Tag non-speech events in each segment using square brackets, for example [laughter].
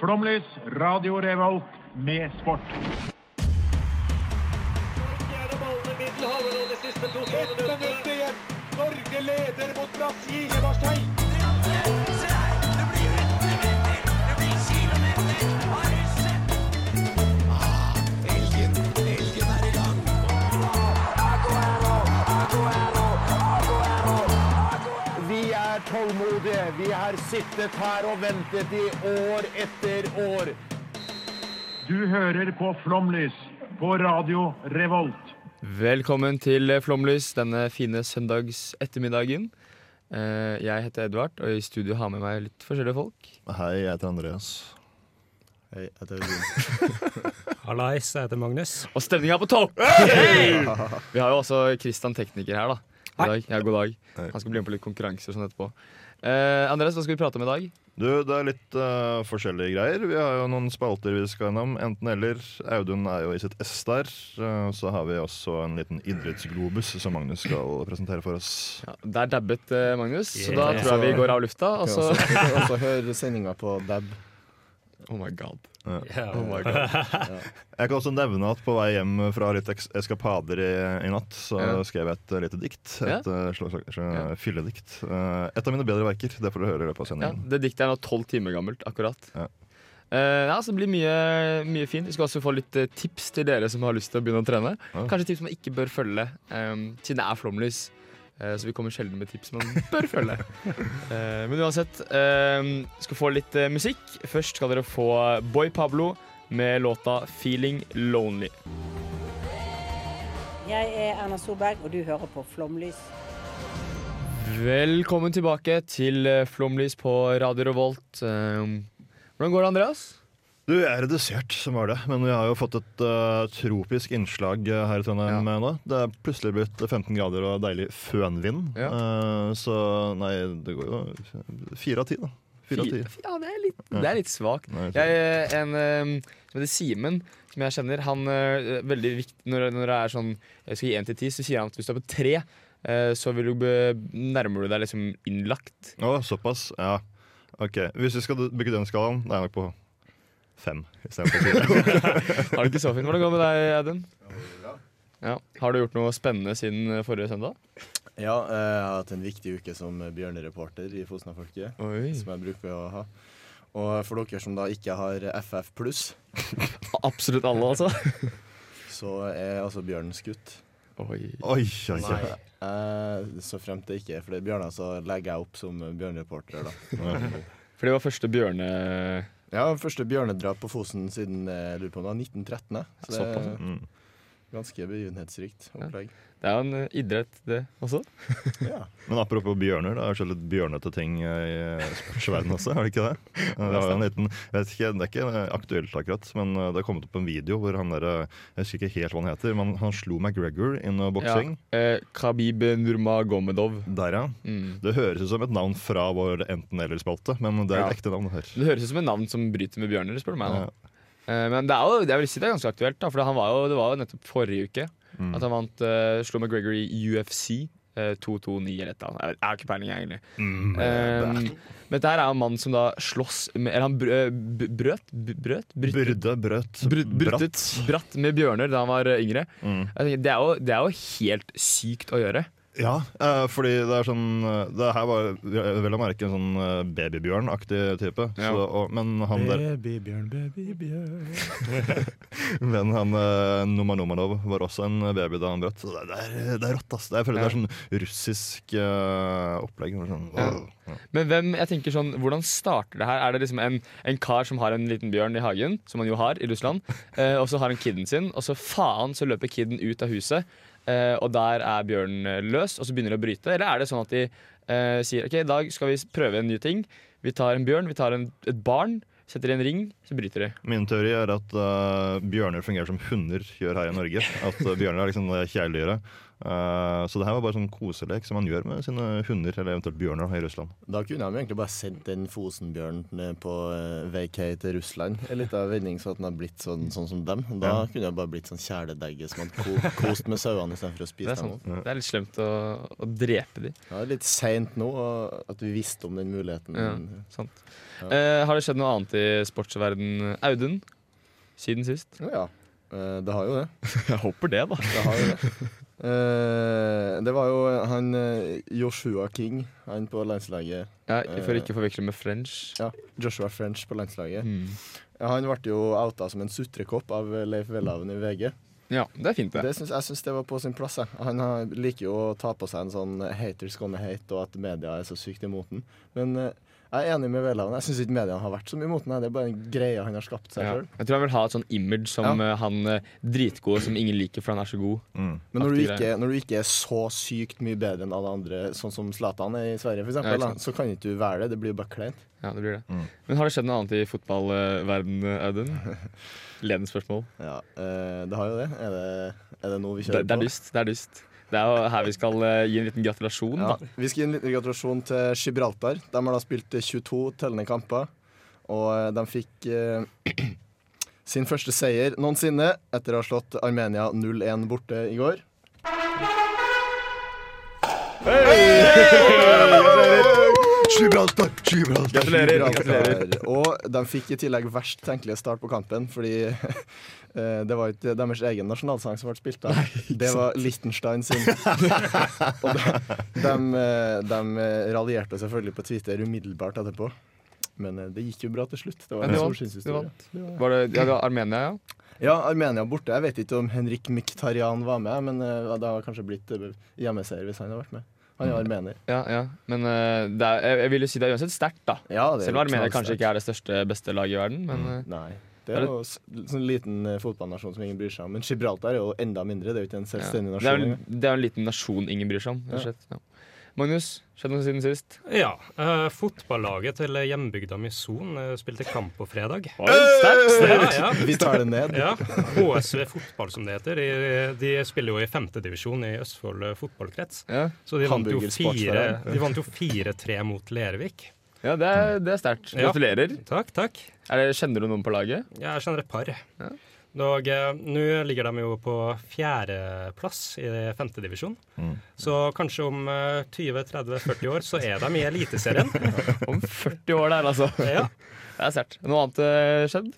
Flomlys, Radio Revolt, med sport. Fjerde ballen i Middelhavet og de siste to Ett minutt sekundene. igjen! Norge leder mot Brasil i Marseille! Vi er tålmodige. Vi har sittet her og ventet i år etter år. Du hører på Flomlys på Radio Revolt. Velkommen til Flomlys denne fine søndags ettermiddagen. Eh, Jeg heter Edvard, og i studio har med meg litt forskjellige folk. Hei, jeg heter Andreas. Hei, jeg heter Audun. Hallais, jeg heter Magnus. Og stemninga er på topp! Vi har jo også Christian tekniker her, da. I dag. Ja, god dag. Han skal bli med på litt konkurranser og sånn etterpå. Eh, Andreas, hva skal vi prate om i dag? [laughs] Du, det er litt eh, forskjellige greier. Vi har jo noen spalter vi skal innom. Enten eller. Audun er jo i sitt ess der. Eh, så har vi også en liten idrettsglobus som Magnus skal presentere for oss. Ja, der dabbet eh, Magnus, så da tror jeg vi går av lufta. Og så Og så hører sendinga på DAB. Oh my god. Ja. Oh my god. Jeg kan også nevne at på vei hjem fra litt eks- eskapader i, i natt, så Ja. skrev jeg et eh, lite dikt. Ja. Et eh, slags slags, eh, fylledikt. Eh, et av mine bedre verker. Det får du høre i løpet av Ja, sendingen. det diktet er nå tolv timer gammelt, akkurat. Ja. Eh, ja, så det blir mye, mye fint. Vi skal også få litt eh, tips til dere som har lyst til å begynne å trene. Ja. Kanskje tips man ikke bør følge, eh, siden det er flomlys. Eh, så vi kommer sjelden med tips man bør [laughs] følge. Eh, men uansett, eh, skal få litt eh, musikk. Først skal dere få Boy Pablo med låta 'Feeling Lonely'. Jeg er Erna Solberg, og du hører på Flomlys. Velkommen tilbake til eh, Flomlys på Radio Revolt. Eh, hvordan går det, Andreas? Du, jeg er redusert, som var det. Men vi har jo fått et eh, tropisk innslag eh, her i Trondheim eh, nå. Det er plutselig blitt 15 grader og deilig fønvind. Eh, så nei, det går jo fire av ti, da. Fire av ti. Fy- Ja, det er litt, det er litt svakt. Nei, jeg tror Jeg, eh, en eh, som heter Simen, som jeg kjenner, han eh, er veldig viktig når, når det er sånn Jeg skal gi én til ti, så sier han at hvis du er på tre, eh, så vil du be, nærmer du deg liksom innlagt. Å, såpass? Ja. Ok. Hvis vi skal bruke den skalaen, da er jeg nok på fem istedenfor fire. Har det ikke så fint. Hvordan går det med deg, Audun? Ja. Har du gjort noe spennende siden eh, forrige søndag? Ja, eh, jeg har hatt en viktig uke som bjørnereporter i Fosna-folket, Oi. som jeg bruker å ha. Og for dere som da ikke har FF pluss, Absolutt alle, altså. så er altså bjørnen skutt. Oi. Oi, oi, oi. Eh, så fremt det ikke er flere bjørner, så legger jeg opp som bjørnereporter, da. For det var første bjørne... Ja, første bjørnedrap på Fosen siden eh, jeg lurer på om det var 1913. jeg. Så det Såpass, er ganske begivenhetsrikt opplegg. Det er jo en eh, idrett, det også. Ja. Men apropos bjørner, det har skjedd litt bjørnete ting eh, i sportsverdenen også, har det ikke det? Eh, Det, var jo en liten, jeg vet ikke, det er ikke eh, aktuelt akkurat, men eh, det har kommet opp en video hvor han der, eh, jeg husker ikke helt hva han heter, men han slo McGregor i noe boksing. eh, Khabib Nurmagomedov. Der, ja. Mm. Det høres ut som et navn fra vår enten-eller-spalte, men det Ja. er et ekte navn det her. Det høres ut som et navn som bryter med bjørner, spør du meg nå. Ja. Eh, Men det er jo jeg vil si det er ganske aktuelt, da, for han var jo, det var jo nettopp forrige uke Mm. at han vant uh, Slo McGregor i UFC. eh, 229 eller et eller annet. Jeg vet- Jeg har ikke peiling, jeg, egentlig. Eh, men dette her er en mann som da slåss med Eller han br eh, b- brøt? b- Brøt? Brut- Brudde, brøt, brut- bratt. Bruttet bratt med bjørner da han var eh, yngre. Mm. Jeg tenker, det, er jo, det er jo helt sykt å gjøre. Ja, eh, fordi det er sånn eh, Det her var eh, vel å merke en sånn eh, babybjørn-aktig type. Ja. Så, og, men han der Babybjørn, babybjørn. Men han eh, Numa Numanov var også en baby da han brøt. Så det, det er, det er rått, ass. Det er- Jeg føler det er sånn russisk eh, opplegg. Det er Sånn, wow. Men hvem, jeg tenker sånn, hvordan starter det her? Er det liksom en, en kar som har en liten bjørn i hagen, som han jo har i Russland, [laughs] eh, og så har han kiden sin, og så faen så løper kiden ut av huset, eh, og der er bjørnen eh, løs, og så begynner de å bryte? Eller er det sånn at de eh, sier ok, i dag skal vi prøve en ny ting. Vi tar en bjørn, vi tar en, et barn, setter i en ring, så bryter de. Min teori er at eh, bjørner fungerer som hunder gjør her i Norge. At eh, bjørner er liksom det kjæledyret. Eh, så det her var bare sånn koselek som man gjør med sine hunder, eller eventuelt bjørner, da, i Russland. Da kunne de egentlig bare sendt den Fosenbjørnen ned på eh, vacay til Russland. En liten vending så at den har blitt sånn, sånn som dem. Da kunne den bare blitt sånn kjæledegge som hadde ko kost med sauene istedenfor å Det spise er, dem. sant. det er litt slemt å, å drepe de. Ja, det er litt seint nå og at vi visste om den muligheten. Ja, sant. Eh, har det skjedd noe annet i sportsverden, Audun? Siden sist? Ja. ja. Eh, Det har jo det. [laughs] Jeg håper det, da. Det har jo det. [laughs] Eh, det var jo han eh, Joshua King, han på landslaget. Ja, for ikke å forveksle med French. Ja, Joshua French på landslaget. Mm. Ja, han ble jo outa som en sutrekopp av Leif Welhaven i VG. Ja, det er fint, det. Det syns, jeg syns det var på sin plass. Jeg. Han har, liker jo å ta på seg en sånn 'haters gonna hate', og at media er så sykt imot den. Men eh, jeg er enig med Welhaven. Jeg syns ikke media har vært så mye imot den. Det er bare en greie han har skapt seg Ja. selv. Jeg tror han vil ha et sånn image som Ja. eh, han eh, dritgode som ingen liker fordi han er så god. Men når du, Aktig ikke, greie. når du ikke er så sykt mye bedre enn alle andre, sånn som Zlatan er i Sverige, for Ja, eksempel, ikke da, sant. så kan ikke du være det. Det blir jo bare kleint. Ja, det blir det. Mm. Men har det skjedd noe annet i fotballverden, eh, Audun? [laughs] Ledende spørsmål. Ja, eh, det har jo det. Er det, er det noe vi Det, kjører det er på? dyst. Det er dyst. Det er jo her vi skal eh, gi en liten gratulasjon, Ja. da. Vi skal gi en liten gratulasjon til Gibraltar. De har da spilt eh, 22 tellende kamper, og eh, de fikk eh, [clears throat] sin første seier noensinne etter å ha slått Armenia 0-1 borte i går. Gibraltar! Gibraltar! [laughs] Gratulerer. gratulerer. Gibraltar. Og de fikk i tillegg verst tenkelige start på kampen, fordi [laughs] eh, det var ikke deres egen nasjonalsang som ble spilt da. Det var Liechtenstein [laughs] sin. Og de, de, eh, de raljerte selvfølgelig på Twitter umiddelbart etterpå. Men eh, det gikk jo bra til slutt. Det var Men en de vant. De solskinnshistorie. vant. Var det ja, det var Armenia, ja? Ja, Armenia borte. Jeg vet ikke om Henrik Mktarian var med, men eh, det har kanskje blitt eh, hjemmeseier hvis han har vært med. Han Mm. er armener. Ja, ja. Men eh, det er, jeg, jeg vil jo si det er uansett sterkt, da. Ja, det er Mm. Selv om Armenia knallsterkt. kanskje ikke er det største, beste laget i verden, men eh, Nei. Det er jo s- sånn liten eh, fotballnasjon som ingen bryr seg om. Men Gibraltar er jo enda mindre. Det er jo ikke en ja. selvstendig det, er, nasjon. jo- engang. det er jo en liten nasjon ingen bryr seg om. rett og slett. Ja. Magnus, skjedd noe siden sist? Ja. eh, fotballaget til hjembygda mi Son eh, spilte kamp på fredag. Ja, ja. [laughs] Vi tar det ned. [laughs] ja. HSV fotball, som det heter. De, de spiller jo i femtedivisjon i Østfold eh, fotballkrets. Ja, Så de vant jo Hamburger fire- Sportsforening. de vant jo 4-3 mot Lervik. ja det er, det er sterkt. Ja. Gratulerer. Takk, takk. Er det, kjenner du noen på laget? Jeg kjenner et par. Og eh, nå ligger de jo på fjerdeplass i femtedivisjon. Så kanskje om eh, 20-30-40 år så er de i Eliteserien. [laughs] Om 40 år der, altså. Ja. Det er sterkt. Noe annet eh, skjedd?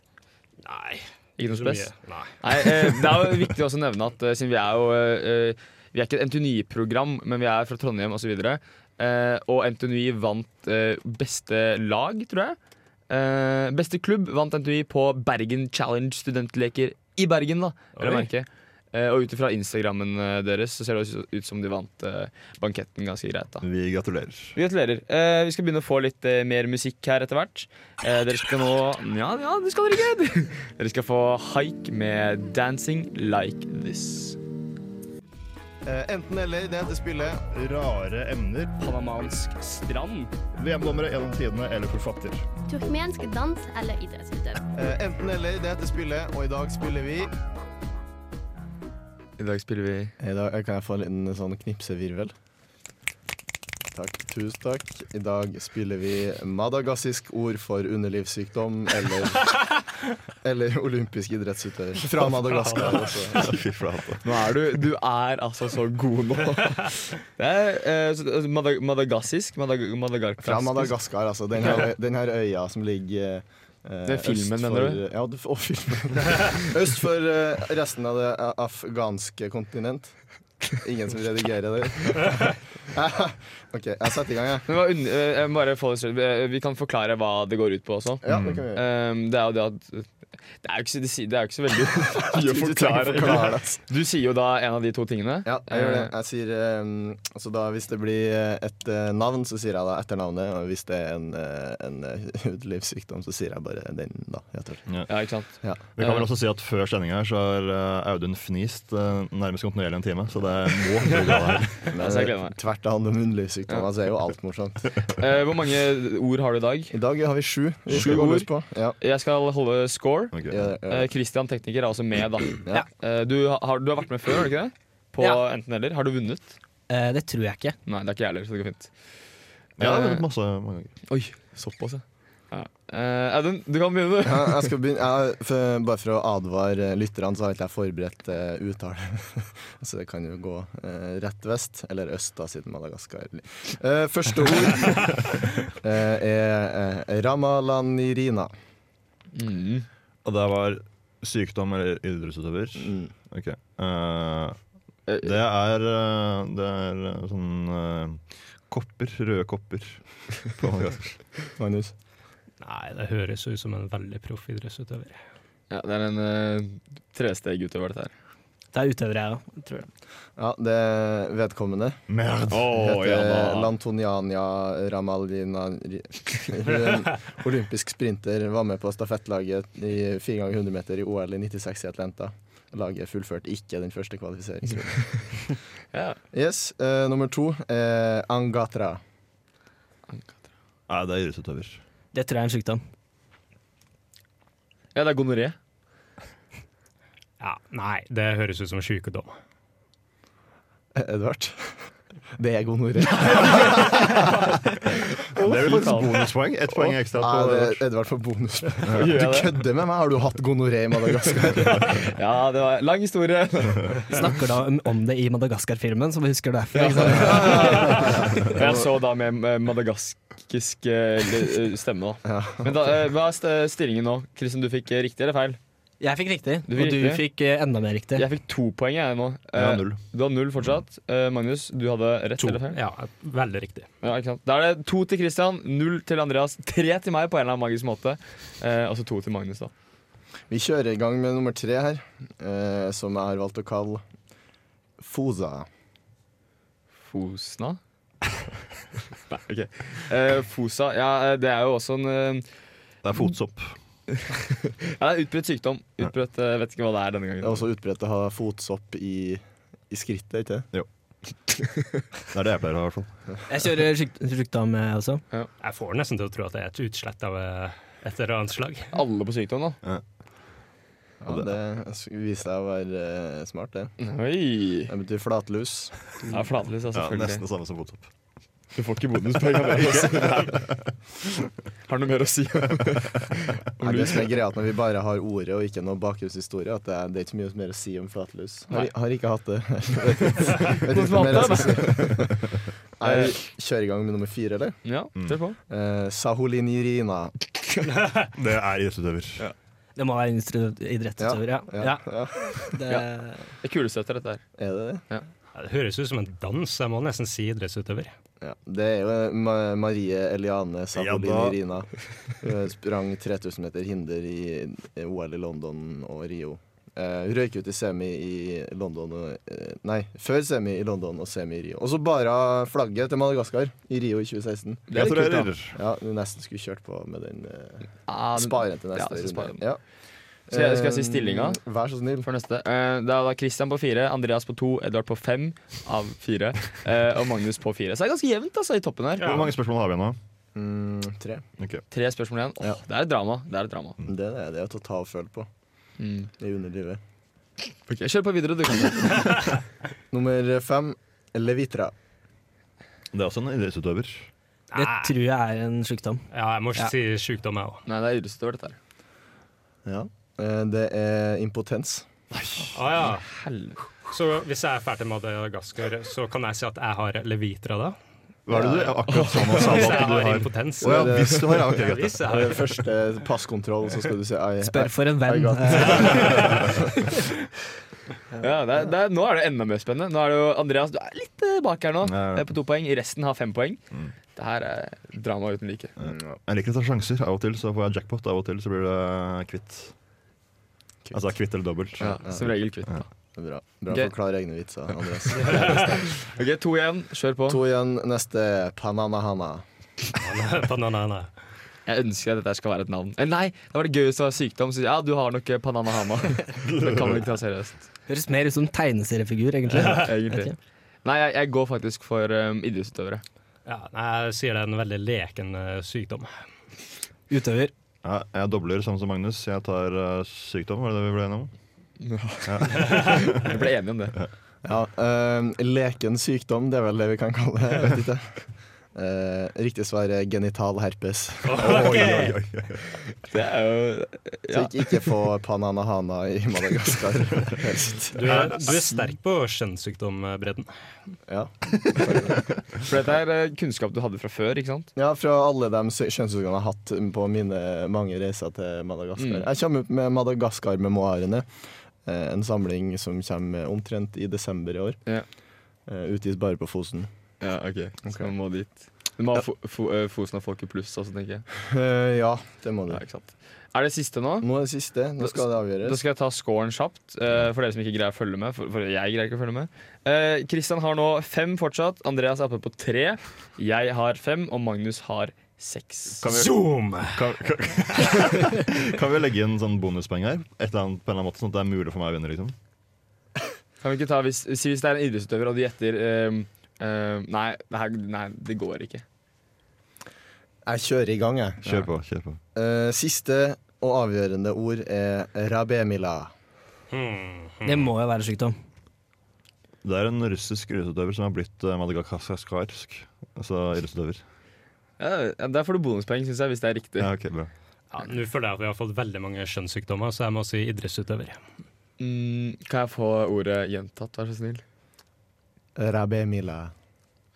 Nei, Ikke noe så spes? mye. Nei. Nei, eh, Det er jo viktig også å nevne at eh, siden vi er jo eh, eh, Vi er ikke et NTNY-program, men vi er fra Trondheim osv. eh, Og NTNY vant eh, beste lag, tror jeg. Eh, Beste klubb vant NTNY på Bergen Challenge studentleker i Bergen, da. Vil jeg Oi. merke. Eh, Og ut ifra Instagrammen eh, deres så ser det også ut som de vant eh, banketten ganske greit. da Vi gratulerer. Vi Gratulerer. Eh, vi skal begynne å få litt eh, mer musikk her etter hvert. Eh, dere skal nå Ja, ja, det skal dere ikke! [laughs] dere skal få Haik med 'Dancing Like This'. Eh, Enten eller, det heter spillet. Rare emner. Panamansk strand. VM-dommere gjennom tidene eller forfatter. Turkmensk dans eller idrettsutøver. Eh, Enten eller, det heter spillet, og i dag spiller vi I dag spiller vi I dag Kan jeg få en liten sånn knipsevirvel? Takk. Tusen takk. I dag spiller vi madagassisk ord for underlivssykdom eller Eller olympisk idrettsutøver. Fra Madagaskar. altså. [laughs] Fy flate. Nå er du Du er altså så god nå. Det er eh, så- altså, madag madagassisk? Madag madagarkask? Fra Madagaskar, altså. Den her, den her øya som ligger eh, Det er filmen, øst mener du? for- Ja, du, å, [laughs] filmen. øst for eh, resten av det eh, afghanske kontinent. Ingen som redigerer det. [laughs] OK, jeg setter i gang, jeg. Men hva unn- eh, jeg må bare få det straight. Eh, Vi kan forklare hva det går ut på også. Ja, det kan vi gjøre. Um, det er jo det at Det er jo ikke, så- det si- det er jo ikke så veldig [laughs] mye å Du trenger forklare. å forklare det, altså. Du sier jo da en av de to tingene. Ja, jeg gjør det. Eh, Jeg sier eh, altså da, Hvis det blir eh, et eh, navn, så sier jeg da etternavnet. Og hvis det er en, eh, en eh, [laughs] hudlivssykdom, så sier jeg bare den, da. Jeg tror. Ja, ikke sant? Ja. Vi kan vel også si at før sending her så har eh, Audun fnist eh, nærmest kontinuerlig en time, så det må bli bra [laughs] her. Men, eh, Altså, jeg gleder meg. tvert av med munnlivssykdommer, så altså, er jo alt morsomt. Eh, hvor mange ord har du i dag? I dag har vi sju. Vi Sju skal gå ord? løs på. Ja. Jeg skal holde score. Ok. Ja, ja. [clears throat] Eh, Christian tekniker er også med, da. Ja. Eh, du, har, du har vært med før, har du ikke det? på Ja. enten eller. Har du vunnet? Eh, det tror jeg ikke. Nei, det er ikke jeg heller, så det går fint. Jeg har Eh, vunnet masse mange ganger. Oi, såpass, ja. ja. Eh, Audun, du kan begynne, du. Ja, jeg skal begynne, jeg, for, bare for å advare lytterne, så har ikke jeg forberedt eh, uttale. [laughs] så det kan jo gå eh, rett vest, eller øst, da, siden Madagaskar. Eh, første ord eh, er eh, Ramalanirina. Mm. Og det var sykdom eller idrettsutøver? Mm. Ok. Eh, det er eh, Det er eh, sånn eh, kopper. Røde kopper. [laughs] På Madagaskar. Magnus? Nei, det høres jo ut som en veldig proff idrettsutøver. Ja, det er en uh, tresteg utover dette her. Det er utøvere, jeg òg, tror jeg. Ja, det er vedkommende. Merd. Oh, Heter Lantoniania Ramalina [laughs] Hun, Olympisk sprinter, var med på stafettlaget i 4 ganger 100 meter i OL i 96 i Atlanta. Laget fullførte ikke den første kvalifiseringsrunden. Ja. Yes, eh, nummer to eh, Angatra. Nei, det er idrettsutøver. Det tror jeg er en sykdom. ja, det er gonoré. Ja, Nei, det høres ut som sykdom. Eh, Edvard. Det er gonoré. Det er vel et bonuspoeng? Ett poeng ekstra. Nei, På, det er Edvard får bonus. Du Gjør jeg det? kødder med meg! Har du hatt gonoré i Madagaskar? Ja, det var lang historie. Snakker da om- om det i Madagaskar-filmen, som vi husker derfra. ikke sant? [laughs] Jeg så da med eh, madagaskisk eh, le- eh, stemme, da. Men da, eh, hva er st- stillingen nå? Kristin, du fikk eh, riktig eller feil? Jeg fikk riktig, Du og fikk du riktig. fikk eh, enda mer riktig. Jeg fikk to poeng, jeg nå. Eh, Ja, null. Du har null fortsatt. Eh, Magnus, du hadde rett To. eller feil? Ja, veldig riktig. Ja, ikke sant? Da er det to til Christian, null til Andreas, tre til meg på en eller annen magisk måte. Eh, altså to til Magnus, da. Vi kjører i gang med nummer tre her, eh, som jeg har valgt å kalle [laughs] Fosa. Fosna? [laughs] Nei, OK. Eh, Fosa, ja, eh, det er jo også en eh, det er fotsopp. Ja, det er utbredt sykdom. Utbredt, eh, Vet ikke hva det er denne gangen. Det er også utbredt å ha fotsopp i, i skrittet, ikke det? Det er det jeg pleier å ha, i hvert fall. Jeg kjører syk- sykdom, jeg også. Jeg får nesten til å tro at det er et utslett av eh, et eller annet slag. Alle på sykdom, da. Ja, det viste deg å være eh, smart, det. Oi! Det betyr flatlus. Ja, flatlys, ja, Ja, selvfølgelig. nesten det samme som fotsopp. du får ikke bonuspoeng [laughs] av det. Har du noe mer å [laughs] si? Nei, det som er greia at Når vi bare har ordet og ikke noe bakgrunnshistorie, at det er, det er ikke så mye mer å si om flatlus. Har, Nei. har ikke hatt det. [laughs] Vet ikke- vet ikke Noe hva mer jeg annet, skal si. [laughs] Nei, vi kjører i gang med nummer fire, eller? Ja, kjør på. Eh, Saholinirina. Det er idrettsutøver. Det må være instru- idrettsutøver, ja. ja. ja. Det, Det er kulestøter, dette her. Er det det? Ja, Det høres ut som en dans. Jeg må nesten si idrettsutøver. Ja. Det er jo eh, Ma Marie Eliane Saholinirina. Hun sprang 3000 meter hinder i OL i London og Rio. Eh, Hun røyk ut i semi i London og, eh, Nei, før semi i London og semi i Rio. Og så bare flagget til Madagaskar i Rio i 2016. Det er litt kult, da. Gratulerer. Ja, du nesten skulle kjørt på med den. eh, Ja, den- Spare til Ah, ja, neste så sparer runde. den. Ja. Så jeg- skal jeg si Eh, stillinga? Vær så snill. For neste. Eh, Det er da Christian på fire, Andreas på to, Edvard på fem av fire. eh, Og Magnus på fire. Så det er ganske jevnt altså, i toppen her. Hvor mange spørsmål har vi nå? Mm, tre. Ok. Tre spørsmål igjen. Åh, Ja. Det er et drama. Det er et drama. Det er det, det er å ta og føle på Mm. i underlivet. Ok, Kjør på videre, du. kan [laughs] Nummer fem, Levitra. Det er også en idrettsutøver. det tror jeg er en sykdom. Ja, jeg må Ja. si sykdom, jeg òg. Nei, det er idrettsutøver, dette her. Ja. Eh, Det er impotens. Ah, ja. Helvete. Så hvis jeg er ferdig til Madagaskar, så kan jeg si at jeg har levitra da? Hva er det du ja, akkurat sa nå? Sa du Hvis at jeg du har har impotens? [laughs] Å ja, hvis du har, ja, ok, Ja, greit. hvis jeg Det har er Første passkontroll, så skal du si I, Spør for en I venn. got it. Ja, det er, det er, nå er det enda mer spennende. Nå er det jo Andreas, du er litt eh, bak her nå, Ja, ja. eh, på to poeng. Resten har fem poeng. Det her er drama uten like. Jeg liker å ta sjanser. Av og til så får jeg jackpot, av og til så blir det eh, kvitt. Altså kvitt eller dobbelt. Ja, som regel kvitt. da. Bra. Bra Ok. forklare egne vitser, Andreas. Ok, To igjen. Kjør på. To igjen. Neste Pananahana. Bananana. Jeg ønsker at dette her skal være et navn. Eh, nei, det var det gøy hvis det var sykdom. Så, ja, du har nok eh, [laughs] Pananahama. det kan man ikke ta seriøst. Høres mer ut som tegneseriefigur, egentlig. [laughs] Egentlig. Nei, jeg, jeg går faktisk for um, idrettsutøvere. Ja, nei, jeg sier det er en veldig leken eh, sykdom. Utøver. Ja, jeg dobler samme som Magnus. Jeg tar eh, sykdom, var det det vi ble enige om? Vi ble enige om det. Ja, eh, leken sykdom, det er vel det vi kan kalle det. Jeg vet ikke. Eh, riktig svar er genital herpes. [laughs] Oi, oi, oi, oi. Det er jo Så ikke, ikke få pananahana i Madagaskar. helst. Du er, du er sterk på eh, kjønnssykdombredden. Ja. For dette er eh, kunnskap du hadde fra før, ikke sant? ja, fra alle de sy- kjønnsorganene jeg har hatt på mine mange reiser til Madagaskar. Mm. Jeg kommer ut med Madagaskar-memoarene. eh, En samling som kommer omtrent i desember i år. Ja. Eh, Utgis bare på Fosen. Ja, ok. Så man må dit. Du må ha fo fo eh, Fosen og Folket Pluss også, tenker jeg. Eh, Ja, Mm. det må du. Ja, ikke sant. Er det siste nå? Nå er det siste. Nå skal det Da avgjøres. skal jeg ta scoren kjapt, eh, for dere som ikke greier å følge med. For, for jeg greier ikke å følge med Eh, Kristian har nå fem fortsatt. Andreas er oppe på tre. Jeg har fem, og Magnus har seks. Kan vi, Zoom! kan, [laughs] kan, kan vi legge inn sånn bonuspoeng her? Et eller annet, på en eller annen måte Sånn at det er mulig for meg å vinne, liksom? Kan vi ikke ta hvis, si hvis det er en idrettsutøver, og de gjetter eh, eh, nei, det her, nei, det går ikke. Jeg kjører i gang, jeg. Kjør på. kjør på Eh, Siste og avgjørende ord er rabemila. Det må jo være sykdom. Det er en russisk idrettsutøver som har blitt eh, madagaskarsk. Altså idrettsutøver. Ja, ja, der får du bonuspoeng, syns jeg, hvis det er riktig. Ja, ok, bra Ja, Nå føler jeg at vi har fått veldig mange kjønnssykdommer, så jeg må si idrettsutøver. Mm, kan jeg få ordet gjentatt, vær så snill? Rabemila.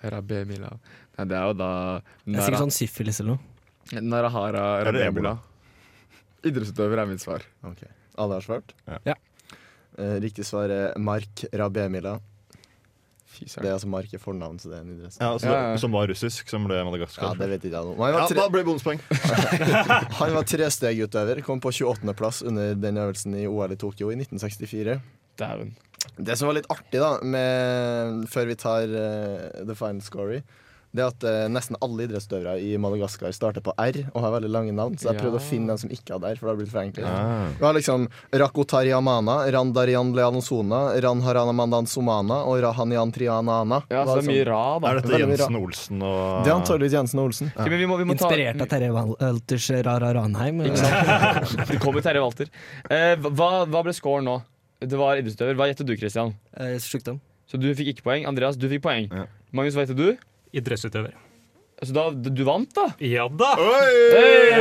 Rabemila. Nei, det er jo da Det er Nara, sikkert sånn syfilis eller noe. Narahara Er det Rabemila. Idrettsutøver er mitt svar. Ok, Alle har svart? Ja. Ja. Eh, Riktig svar er Mark Rabemila. Fy Det er søren. altså Mark i fornavn, så det er en idrett. ja, altså, Ja, ja. Som var russisk, som ble Madagaskar. Ja, det vet ikke jeg noe om. Han Ja, var, da tre, ble det bonuspoeng. han var trestegutøver. Kom på 28.-plass under den øvelsen i OL i Tokyo i 1964. Dæven. Det som var litt artig, da, med, før vi tar eh, the final score, det er at eh, nesten alle idrettsutøvere i Madagaskar starter på R og har veldig lange navn, så jeg Ja. prøvde å finne dem som ikke hadde R, for det har blitt for enkelt. Ah. Vi har liksom Rakotariamana, Randarian Leanonsona, Ranharanamandansomana og Rahanian Trianana. Ja, så det er mye ra, da. Er dette Veldig bra. Jensen Olsen og Det er antageligvis Jensen og Olsen. Ok, men vi må, vi må ta, Inspirert av Terje Walters Rara Ranheim. Det kommer Terje Walter. Eh, hva, hva ble scoren nå? Det var idrettsutøver. Hva gjettet du, Christian? Eh, Sykdom. Så du fikk ikke poeng. Andreas, du fikk poeng. Ja. Magnus, hva gjettet du? Idrettsutøver. Så da, du vant, da. Ja da! Hey! Det er ikke-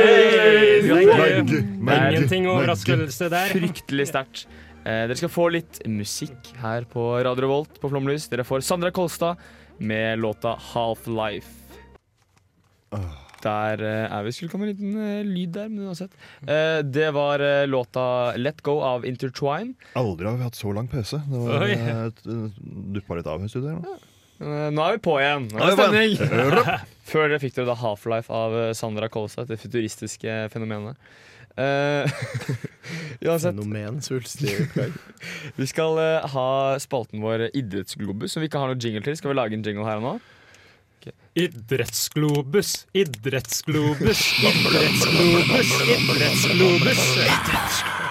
det er Nei, Ingenting overraskelse der. Fryktelig sterkt. Eh, dere skal få litt musikk her på Radio Revolt på Flomlys. Dere får Sandra Kolstad med låta Half-Life. Der eh, er vi. Skulle komme en liten eh, lyd der, men uansett. Eh, det var eh, låta Let Go av Intertwine. Aldri har vi hatt så lang pause. Det var Oi. eh, et- duppa litt av i studiet her nå. Eh, nå er vi på igjen. Nå er Nå er det vi stemning. [laughs] Før dere fikk dere da Half-Life av eh, Sandra Kolstad, det futuristiske fenomenet. Eh, [laughs] uansett. Fenomen svulstig oppgang. Vi skal eh, ha spalten vår Idrettsglobus, som vi ikke har noe jingle til. Skal vi lage en jingle her og nå? Idrettsglobus, idrettsglobus, idrettsglobus, idrettsglobus.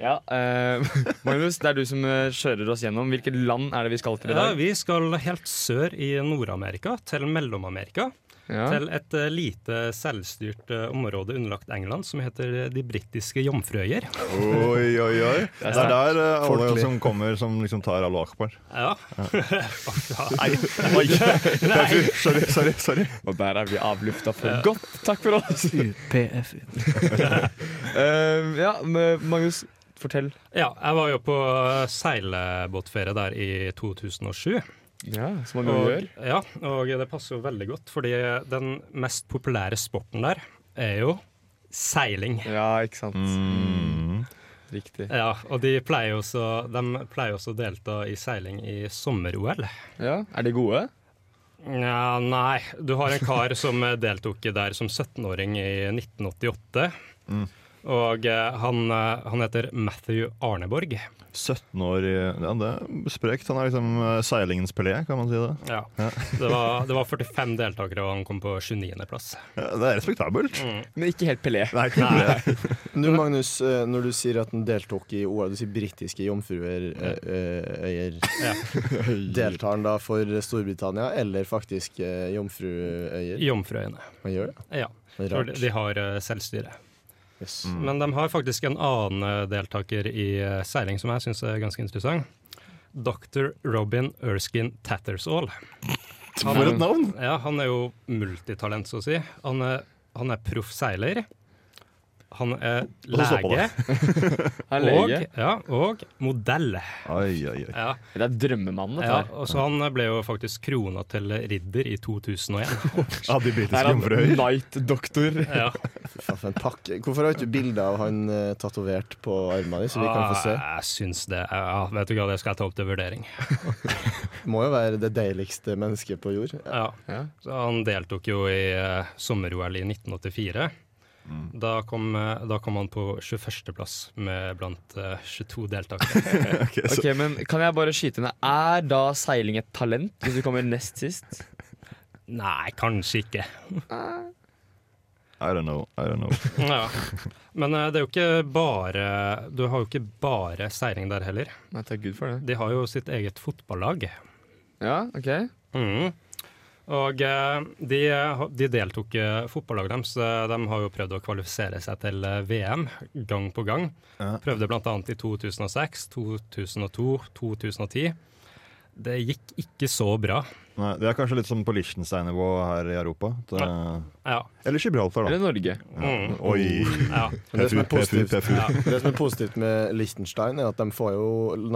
Ja, eh, [laughs] Magnus, det er du som eh, kjører oss gjennom. Hvilket land er det vi skal til i Ja, dag? vi skal helt sør i Nord-Amerika, til Mellom-Amerika. Ja. Til et eh, lite selvstyrt eh, område underlagt England som heter De britiske jomfrøyer. Oi, oi, oi. Det er der eh, alle Folkelig. som kommer, som liksom tar Allo Akbar. [laughs] Ja. Nei, oi. Sorry, sorry. sorry Og der er vi avlufta for godt. Takk for oss. UPFU. [laughs] Eh, ja, men Magnus, fortell. ja, jeg var jo på eh, seilbåtferie der i 2007. Ja, Som man jo Og, gjør. ja, og det passer jo veldig godt, fordi den mest populære sporten der er jo seiling. Ja, ikke sant. Mm. Mm. Riktig. Ja, og de pleier jo også, de pleier også å delta i seiling i sommer-OL. Ja, Er de gode? Nja, nei. Du har en kar som eh, deltok der som 17-åring i 1988. Og eh, han, eh, han heter Matthew Arneborg. 17 år i Ja, det er sprekt. Han er liksom eh, seilingens Pelé, kan man si det. Ja. Det, var, det var 45 deltakere, og han kom på 29.-plass. Ja, det er respektabelt. Men ikke helt Pelé. Nei, ikke Pelé. Nå, Magnus, eh, når du sier at den deltok i OL, du sier britiske jomfruer eh, eh, øyer. Ja. [laughs] Deltar han da for Storbritannia eller faktisk eh, jomfruøyer? Jomfrøyene. Han gjør det. Ja. Det er For Rart. de har eh, selvstyre. Mm. Men de har faktisk en annen eh, deltaker i eh, seiling som jeg syns er ganske interessant. Dr. Robin Erskine Tattersall. Han- For et navn! Ja, han er jo multitalent, så å si. Han er, han er proff seiler. Han er Og så stopper lege Han er og, lege. ja, og modell. Oi, oi, oi. Ja, Det er drømmemannen, dette ja, her. og så Han ble jo faktisk krona til ridder i [laughs] 2001. Av de britiske Er han jomfruer. Knight-doktor? Ja. Ja, for en pakke. Hvorfor har ikke du bilde av han eh, tatovert på armene dine, så vi kan få se? Ah, Jeg syns det er- ja, Vet du hva, det skal jeg ta opp til vurdering. Må jo være det deiligste mennesket på jord. Ja. Ja. Så han deltok jo i eh, sommer-OL i 1984. Da kom, eh, da kom han på 21.-plass blant eh, 22 deltakere. Ok, men Kan jeg bare skyte ned? Er da seiling et talent, hvis du kommer nest sist? Nei, kanskje ikke. I don't know. I don't know. Ja. Men eh, det er jo ikke bare Du har jo ikke bare seiling der heller. Nei, takk Gud for det. De har jo sitt eget fotballag. Ja, ok. Mhm. Og eh, de, de deltok eh, fotballaget deres. eh, De har jo prøvd å kvalifisere seg til eh, VM gang på gang. Prøvde bl.a. i 2006, 2002, 2010. Det gikk ikke så bra. Nei, det er kanskje litt som på Liechtenstein-nivå her i Europa. Det... Ja. Eller Gibraltar, da. Oh. Eller Norge. Mm. Oi! ja. Men det som er PFU, positivt, PFU. [laughs] det som er positivt med Liechtenstein, er at de får jo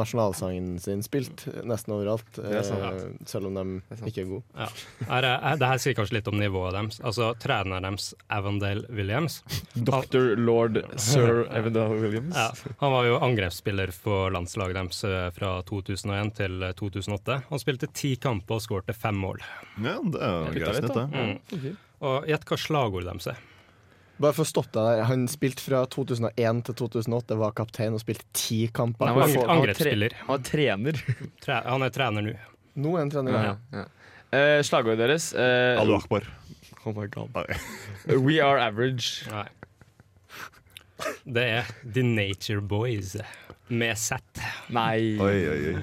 nasjonalsangen sin spilt nesten overalt. er sant. eh, Selv om de ikke er gode. Ja. Her, er- her, det her sier kanskje litt om nivået deres. Altså treneren deres, Avondale Williams, Dr. lord sir Evendal Williams. Ja, han var jo angrepsspiller for landslaget deres eh, fra 2001 til eh, 2008. Han spilte ti kamper og skårte fem mål. Ja, det er jo Litt greit av snitt, et, da. det. Mm. Ok. Og gjett hva slagordet deres er. Bare for å stoppe deg der. Han spilte fra 2001 til 2008, var kaptein og spilte ti kamper. Han var- Ang- han var tre- angrepsspiller. Han var trener. Tre, han er trener nå. Nå er han trener. Ja, ja. [laughs] Eh, slagordet deres eh, Allahu akbar. Oh my god. Nei. We are average. Nei. Det er The Nature Boys med Z. Nei. Oi, oi, oi.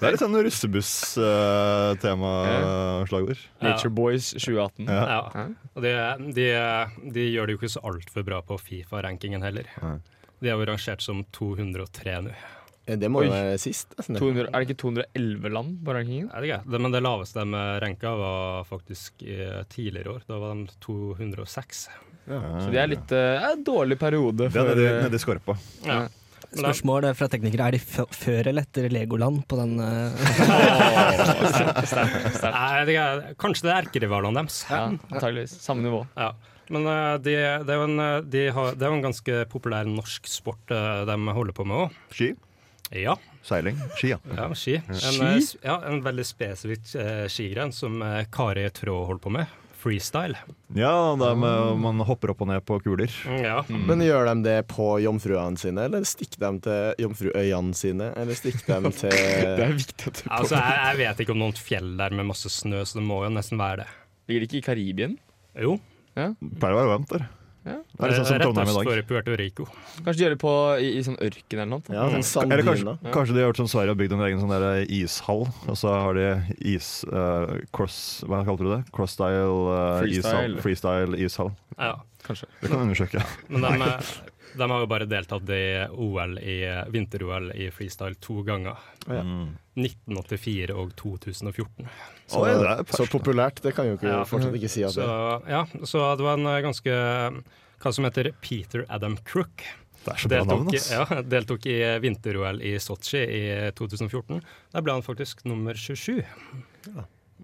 Det er litt sånn russebuss-tema-slagord. Nature Boys 2018. Ja. Ja. Og de, de, de gjør det jo ikke så altfor bra på Fifa-rankingen heller. Nei. De er jo rangert som 203 nå. Eh, Det må jo Oi. være sist. nesten. 200, er det ikke 211 land på rankingen? Er det greit? Det- Men det laveste de ranka var faktisk i tidligere år. Da var de 206. Så det er litt eh, en dårlig periode. Det er For, eh, nedi, nedi skorpa. Ja. Men da- Spørsmål eh, fra teknikere. Er de f før eller etter Legoland på den eh, Nei, det er, kanskje det er erkerivalene deres. ja, antageligvis. Samme nivå. Ja. Men eh, de, det, er jo en, eh, de har, det er jo en ganske populær norsk sport eh, de holder på med òg. Ski. Ja, Seiling. Ski, ja. ja, ski. En, eh, s- Ja, en veldig spesifikk eh, skigren som eh, Kari Traa holder på med. Freestyle. Ja, det er med man hopper opp og ned på kuler. Mm, Ja. Men gjør de det på jomfruene sine, eller stikker de til jomfruøyene sine? Eller [laughs] stikker de til er viktig at du Altså, jeg, jeg vet ikke om noen fjell der med masse snø, så det må jo nesten være det. Ligger det ikke i Karibien? Jo, Pleier å være varmt der. Ja. Det er litt sånn som rett Trondheim i øst dag. for Puerto Rico. Kanskje de gjør det på, i, i sånn ørken eller noe? ja, sånn Eller kanskje, Sanddyna? kanskje de har gjort som Sverige og bygd en egen sånn der ishall. Og så har de is... eh, cross... Hva kalte du det? Crossstyle eh, Freestyle. ishall. Freestyle ishall. Ja. Kanskje. Det kan vi undersøke. Men de, eh, de har jo bare deltatt i OL i vinter-OL i freestyle to ganger. Ja. Mm. 1984 og 2014. Så, Oi, det er så populært, det kan jo ikke, Ja. fortsatt ikke si at Så, det er. ja, så det var en eh, ganske eh, Hva som heter Peter Adam Crook. Det er så bra Deltok, navn, i- ass. ja, deltok i eh, vinter-OL i Sotsji i 2014. Der ble han faktisk nummer 27.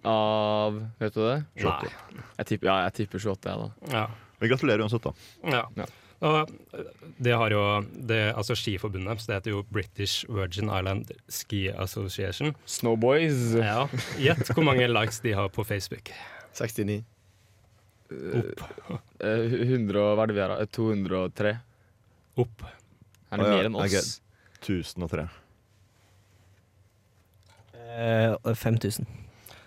Av Vet du det? Nei. Jeg tipper, ja, jeg tipper 28, jeg, da. Ja. Vi gratulerer uansett, da. Ja. Ja. Og eh, det har jo det, altså Skiforbundet deres, det heter jo British Virgin Island Ski Association. Snowboys. Ja. Gjett hvor mange likes de har på Facebook. 69. Opp. Eh, 100, og- hva er det vi har, da? 203? Opp. Er det Å, ja, mer enn ok. oss? 1003. eh, 5000?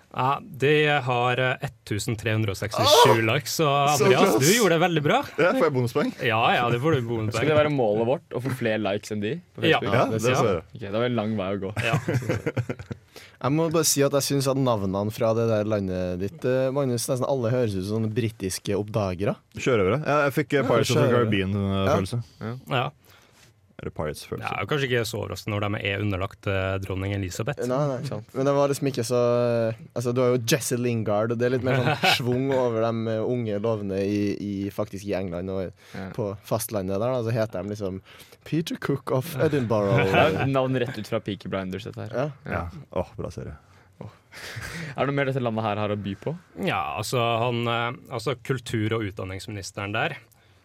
Ja, de har eh, 1367 likes, så Andreas, du gjorde det veldig bra. Ja, får jeg bonuspoeng? Ja ja, det får du bonuspoeng. Skulle det være målet vårt å få flere likes enn de? på Ja. Facebook? Ja, det Ja. ser jeg. Ok, det var en lang vei å gå. Ja. Jeg må bare si at jeg syns at navnene fra det der landet ditt, eh, Magnus, nesten alle høres ut som sånne britiske oppdagere. Sjørøvere. Ja, jeg fikk eh, Pirates of the sjørøvere. Caribbean-følelse. Ja. Eller Pirates-følelse. Det er jo kanskje ikke så overraskende når de er underlagt eh, dronning Elisabeth. Nei, nei. Men det var liksom ikke så Altså, du har jo Jesse Lingard, og det er litt mer [laughs] sånn schwung over de eh, unge lovende i, i, faktisk i England og Ja. på fastlandet der, da, så heter de liksom Peter Cook of [laughs] Edinburgh. Det er jo navn rett ut fra Peaky Blinders. Dette her. Ja. Ja. Åh, bra serie. Er det noe mer dette landet her har å by på? Ja, altså, han, eh, altså kultur- og utdanningsministeren der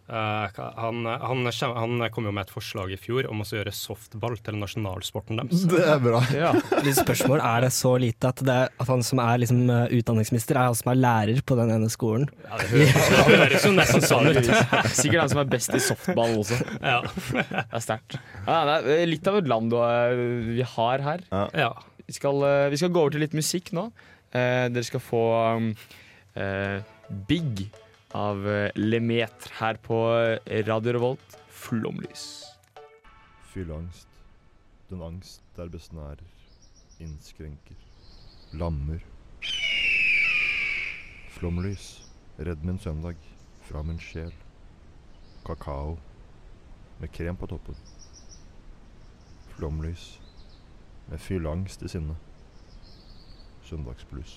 eh, hva- han, eh, han, kjem- han kom jo med et forslag i fjor om å så gjøre softball til nasjonalsporten deres. Det er bra. Ja. Litt spørsmål, Er det så lite at, det er, at han som er liksom eh, utdanningsminister, er han som er lærer på den ene skolen? Ja, det høres, det høres jo nesten sånn ut. Sikkert han som er best i softball også. Ja. Det er sterkt. Ja, det er litt av et land du har- vi har her. Ja. Vi skal, eh, vi skal gå over til litt musikk nå. Eh, dere skal få um, eh, Big av eh, Lemaitre her på eh, Radio Revolt. Flomlys. Fylleangst. Den angst der besnærer. Innskrenker. Lammer. Flomlys. Redd min søndag. Fra min sjel. Kakao. Med krem på toppen. Flomlys. Med fylleangst i sinne. Søndagsblues.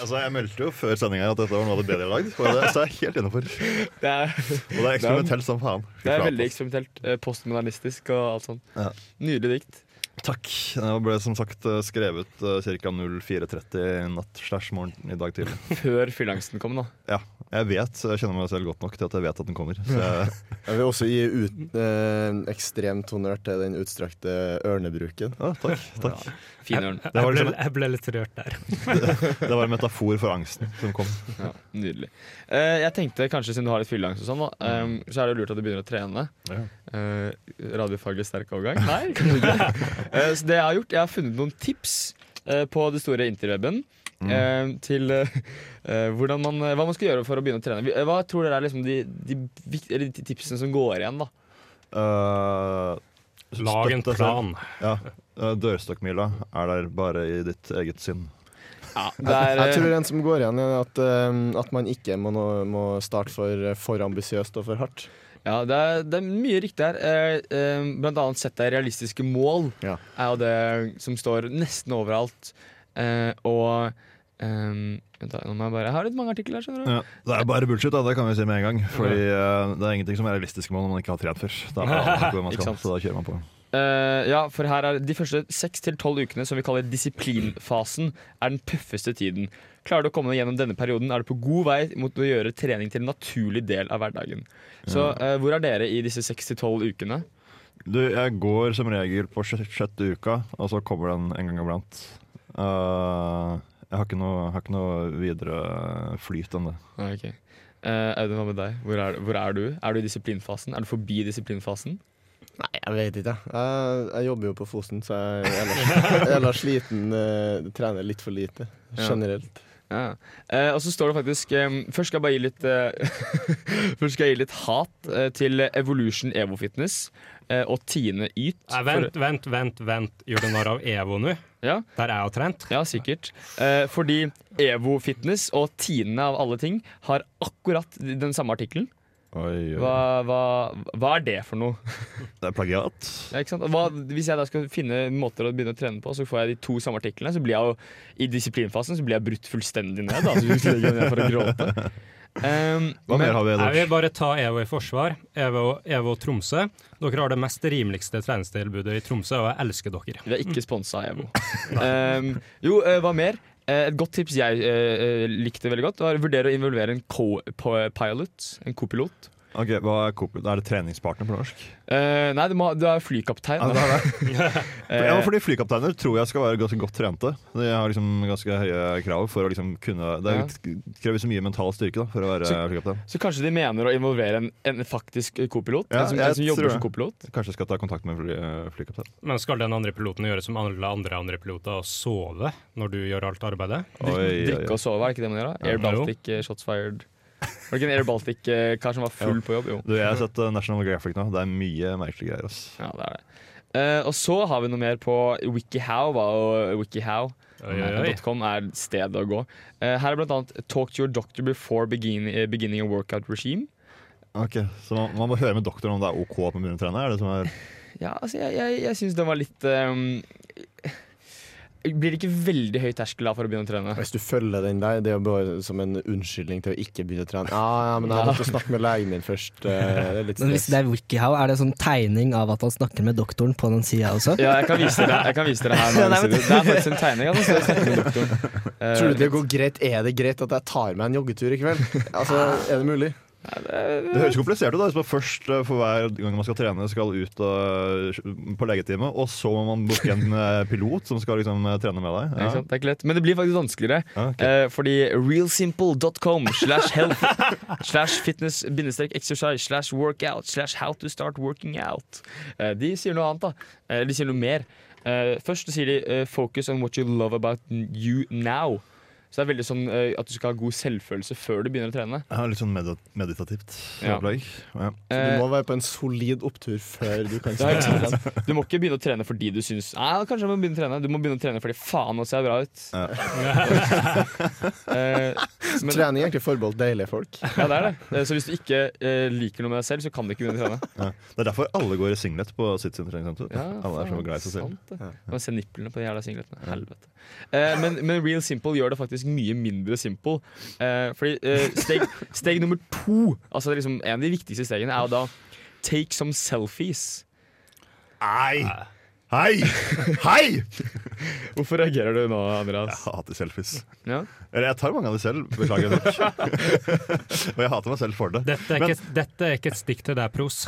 altså, jeg meldte jo før sendinga at dette var noe av det bedre jeg har lagd. og det- Så jeg er helt innafor. Det er, Og det er eksperimentelt som faen. Fy det er flate, veldig ass. eksperimentelt. eh, Postmodernistisk og alt sånt. Ja. Nydelig dikt. Takk. Det ble som sagt eh, skrevet ca. 04.30 natt slash morgen i dag tidlig. Før fylleangsten kom, da. Ja, jeg vet, jeg kjenner meg selv godt nok til at jeg vet at den kommer. Så jeg, [laughs] Jeg vil også gi ut, eh, ekstremt honnør til den utstrakte ørnebruken. ja, takk, takk. Finørn. Jeg var ble, liksom- jeg ble litt rørt der. Det var en metafor for angsten som kom. Ja, nydelig. Eh, jeg tenkte kanskje siden du har litt fylleangst og sånn, nå, ehm, så er det jo lurt at du begynner å trene. Ja. Eh, radiofaglig sterk overgang? Nei, kanskje ikke. Eh, så det jeg har gjort, jeg har funnet noen tips eh, på det store interweben. eh, til eh, eh, hvordan man, hva man skal gjøre for å begynne å trene. Vi- eh, Hva tror dere er liksom de, de, vik- eller de tipsene som går igjen? da? Eh, Lag en støtt deg selv. plan. Ja. eh, Dørstokkmila er der bare i ditt eget sinn. Det er, Jeg eh, tror en som går igjen, er at, eh, at man ikke må, nå- må starte for, eh, for ambisiøst og for hardt. Ja, det er, det er mye riktig her. Eh, eh, blant annet sett deg realistiske mål. Ja. Er jo det som står nesten overalt. Eh, og ehm, Vent, da. Nå må jeg bare Jeg har litt mange artikler her, skjønner du. Det er bare bullshit, da, det kan vi si med en gang. Fordi eh, det er ingenting som er realistisk med når man ikke har trent før. Da aner man ikke hvor man Ikke skal, sant. så da kjører man på. Eh, ja, for her er de første seks til tolv ukene, som vi kaller disiplinfasen, er den tøffeste tiden. Klarer du å komme deg gjennom denne perioden, er du på god vei mot å gjøre trening til en naturlig del av hverdagen. Så eh, hvor er dere i disse seks til tolv ukene? Du, jeg går som regel på sjette, sjette uka, og så kommer den en gang iblant. Eh, jeg har ikke, noe, har ikke noe videre flyt enn det. Ah, ok. Eh, Audun, hva med deg? Hvor er, hvor er du? Er du i disiplinfasen? Er du forbi disiplinfasen? Nei, jeg vet ikke. jeg. Jeg, jeg jobber jo på Fosen, så jeg er ellers, [laughs] ellers sliten. eh, trener litt for lite Ja. generelt. Ja. Eh, og så står det faktisk eh, Først skal jeg bare gi litt eh, [laughs] Først skal jeg gi litt hat eh, til Evolution Evo Fitness eh, og Tine Yt. Nei, vent, vent, vent. vent. Gjør du narr av EVO nå? Ja. Der er jeg jo trent. Ja, sikkert. Eh, fordi Evo Fitness og Tine av alle ting har akkurat den samme artikkelen. Oi, oi. Hva, hva, hva er det for noe? Det er plagiat. Ja, ikke sant? Og Hva, hvis jeg da skal finne måter å begynne å trene på, så får jeg de to samme artiklene, så blir jeg jo, i disiplinfasen så blir jeg brutt fullstendig ned. Da, så hvis jeg legger meg ned for å gråte. Um, Hva mer har vi Jeg vil ellers? bare ta EVO i forsvar. EVO, EVO Tromsø. Dere har det mest rimeligste treningstilbudet i Tromsø, og jeg elsker dere. Vi er ikke sponsa av [laughs] EVO. Ehm, jo, eh, hva mer? Eh, Et godt tips jeg eh, eh, likte veldig godt, var å vurdere å involvere en co-pilot. En kopilot. Ok, hva Er Coop- er det treningspartner på norsk? Eh, nei, du, må, du er flykaptein. Ja, det er det. Eh, [laughs] Ja, fordi Flykapteiner tror jeg skal være ganske godt trente. De har liksom ganske høye krav for å liksom kunne Det Ja. krever så mye mental styrke da, for å være Så- flykaptein. så kanskje de mener å involvere en, en faktisk co-pilot? Ja, en som, jeg en som tror jobber som det. co-pilot? Kanskje jeg skal ta kontakt med en fly, eh, flykaptein. Men skal den andre piloten gjøre som alle andre andre piloter og sove når du gjør alt arbeidet? Drikke og sove, er det ikke det man gjør? da? Air Ja. Baltic eh, shots fired. Var det ikke en Air Baltic-kar som var full på jobb? Jo. Du, jeg har sett eh, National Graphic nå. Det er mye merkelige greier. ass. Ja, det er det. Eh, og så har vi noe mer på WikiHow. hva, og WikiHow. Oi, oi, oi. .com er stedet å gå. Eh, her er blant annet Talk to your doctor before begin, eh, beginning a workout regime. Ok, Så man, man må høre med doktoren om det er OK å begynne å trene? Er det som er Ja, altså, jeg, jeg, jeg syns den var litt ehm, Blir det ikke veldig høy terskel da for å begynne å trene? Hvis du følger den der, det er jo bare som en unnskyldning til å ikke begynne å trene. Ja, ja, men jeg måtte snakke med legen min først. eh, Det er litt Men hvis stress. det er WikiHow, er det sånn tegning av at han snakker med doktoren på den sida også? Ja, jeg kan vise dere, jeg kan vise dere her. Ja, Nå, nei, men- det er faktisk en tegning. Altså, så jeg snakker med doktoren. Eh, Tror du det går greit? Er det greit at jeg tar meg en joggetur i kveld? Altså, er det mulig? Mm. Det høres komplisert ut. da, Hvis man først eh, for hver gang man skal trene, skal ut og- eh, på legetime, og så må man booke [laughs] en eh, pilot som skal liksom eh, trene med deg. ikke Ja. sant? Det er ikke lett. Men det blir faktisk vanskeligere. Ja, ok. Eh, fordi realsimple.com slash health [laughs] slash fitness bindestrek exercise slash workout slash how to start working out. Eh, de sier noe annet, da. Eh, de sier noe mer. Eh, først sier de eh, 'focus on what you love about you now'. Så det er veldig sånn eh, at du skal ha god selvfølelse før du begynner å trene. Ja, litt sånn medit meditativt Ja. opplegg. Ja. Du Eh, må være på en solid opptur før du kan det er starte. ikke sant. du må ikke begynne å trene fordi du syns Nei, kanskje jeg må begynne å trene. Du må begynne å trene fordi faen, nå ser jeg bra ut. [laughs] eh, men- Trening er egentlig forbeholdt deilige folk. ja, det er det. Eh, Så hvis du ikke eh, liker noe med deg selv, så kan du ikke begynne å trene. Ja. Det er derfor alle går i singlet på sitt sin treningssenter. alle er så faen, glad i seg selv. sant det. Man ser nipplene på de jævla singletene. Helvete. Eh, men, men Real Simple gjør det faktisk mye mindre simple. Eh, fordi eh, steg, steg nummer to, altså det er liksom en av de viktigste stegene, er jo da take some selfies. Nei! Hei! [laughs] Hei! Hvorfor reagerer du nå, Andreas? Jeg hater selfies. Ja. Eller jeg tar mange av de selv, [laughs] beklager [laughs] nok. Og jeg hater meg selv for det. Dette er, ikke, dette er ikke et stikk til deg, Pros.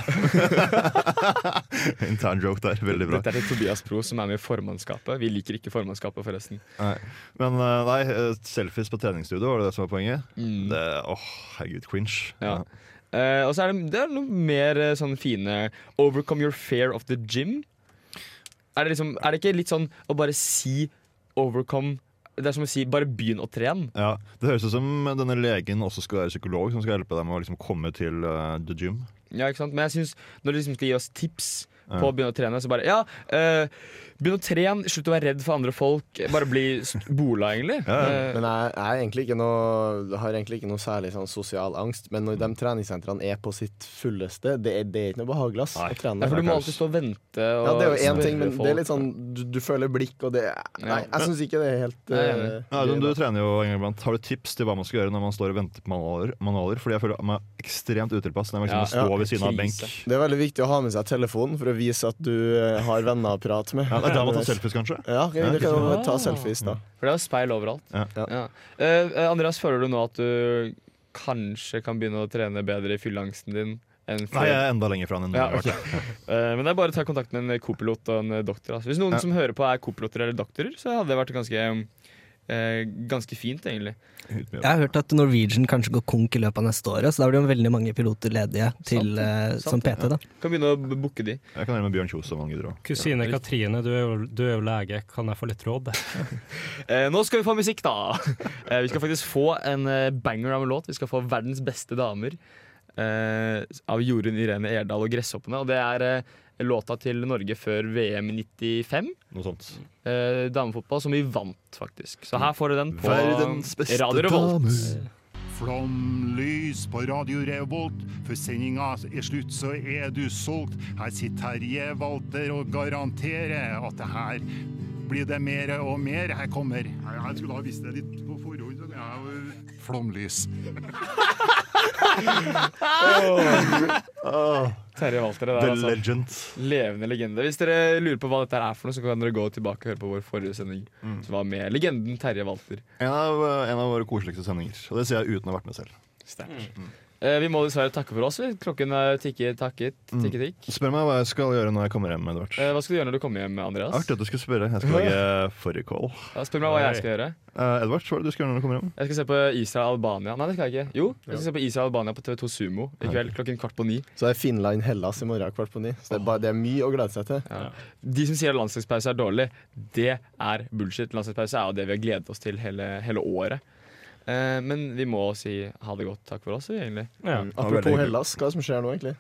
Intern joke der, veldig bra. Dette er til Tobias Pro, som er med i formannskapet. Vi liker ikke formannskapet, forresten. Nei. Men eh, nei, eh, selfies på treningsstudio, var det det som var poenget? Mm. Det, åh, herregud, cringe. Ja. Eh, og så er det, det er noe mer eh, sånn fine Overcome your fear of the gym. Er det, liksom, er det ikke litt sånn å bare si 'overcome' Det er som å si 'bare begynn å trene'. Ja, Det høres ut som denne legen også skal være psykolog, som skal hjelpe deg med å liksom komme til eh, the gym. Ja, ikke sant? Men jeg synes, når de liksom skal gi oss tips på Ja. å begynne å trene, så bare Ja, eh, begynn å trene, slutt å være redd for andre folk. Bare bli s- bola, egentlig. Ja, ja. Eh, Men jeg, jeg er egentlig ikke noe, har egentlig ikke noe særlig sånn sosial angst. Men når de treningssentrene er på sitt fulleste, det er, det er ikke noe behagelig ass, Nei. å ja, trene der. for du må alltid stå og vente. Og Ja, det er jo én spørre ting, men det er litt folk. sånn du, du føler blikk, og det Nei, jeg syns ikke det er helt Nei, jeg er eh, enig. Ja, men gøy, du da. trener jo en gang iblant. Har du tips til hva man skal gjøre når man står og venter på manualer? manualer? Fordi jeg føler meg ekstremt utilpass når jeg Ja. liksom står ved siden av en benk. Krise. Det er veldig viktig å ha med seg telefonen for å vise at du eh, har venner å prate med. Ja, det er der man [laughs] tar selfies, kanskje? Ja, ok, Ja, du kan jo liksom. ta selfies, da. For det er jo speil overalt. Ja. Ja. Eh, Andreas, føler du nå at du kanskje kan begynne å trene bedre i fylleangsten din? Enn før? Nei, jeg er enda lenger fra den enn Ja, jeg har vært. Eh, men det er bare å ta kontakt med en co-pilot og en eh, doktor. Altså. Hvis noen Ja. som hører på er co-piloter eller doktorer, så hadde det vært ganske, eh, ganske fint, egentlig. Uten mye. Jeg har hørt at Norwegian kanskje går konk i løpet av neste året, så da blir det jo veldig mange piloter ledige til, Sant, eh, sant, som PT. da. Kan begynne å b- booke de. Jeg kan gjøre med Bjørn Kjos om han gidder òg. Kusine Ja, Katrine, du er, jo, du er jo lege, kan jeg få litt råd? Eh, nå skal vi få musikk, da! [laughs] Eh, vi skal faktisk få en eh, banger av en låt. Vi skal få 'Verdens beste damer' eh, av Jorunn Irene Erdal og Gresshoppene. Og det er eh, låta til Norge før VM i 95. Noe sånt. eh, damefotball, som vi vant, faktisk. Så her får du den på Verdens beste Radio Revolt. dame. Flomlys på Radio Revolt. Før sendinga er slutt, så er du solgt. Her sitter Terje Walter og garanterer at det her blir det mer og mer. Her kommer Jeg skulle ha visst det litt på forhånd. men jeg er jo- Flomlys. Ah, Terje Walter, det the der, altså. legend. Levende legende. Hvis dere lurer på hva dette her er for noe, så kan dere gå tilbake og høre på vår forrige sending, Mm. som var med legenden Terje Walter. eh, En av, en av våre koseligste sendinger. Og det sier jeg uten å ha vært med selv. Sterkt. Eh, vi må dessverre takke for oss. vi. Klokken er tikke, takke, Mm. tikke, tikk. Spør meg hva jeg skal gjøre når jeg kommer hjem. Edvard. Eh, hva skal du gjøre når du kommer hjem, Andreas? Artig at du skulle spørre. Jeg skal lage fårikål. Ja, spør meg hva jeg skal gjøre. Uh, Edvard, hva er det du skal gjøre når du kommer hjem? Jeg skal se på Israel-Albania Nei, det skal jeg ikke. Jo, jeg skal se på Israel-Albania på TV2 Sumo i kveld klokken kvart på ni. Så er Finland-Hellas i morgen kvart på ni. Så det er, bare, det er mye å glede seg til. De som sier at landslagspause er dårlig, det er bullshit. Landslagspause er jo det vi har gledet oss til hele, hele året. Eh, men vi må si ha det godt. Takk for oss, vi, egentlig. Ja. veldig Apropos hyggelig. Hellas, hva er det som skjer nå, egentlig?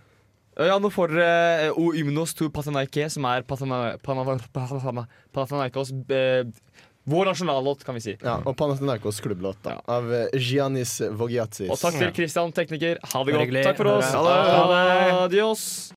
Ja, nå får dere eh, O Ymnos to Patanaike, som er Patana- Panava- Panava- Panathinaikos eh, Vår nasjonallåt, kan vi si. Ja, og Panathinaikos klubblåt da, av eh, Giannis Vogiatzis. Og takk til Christian, tekniker. Ha det Bare godt. hyggelig. Takk for oss. Ha Adios.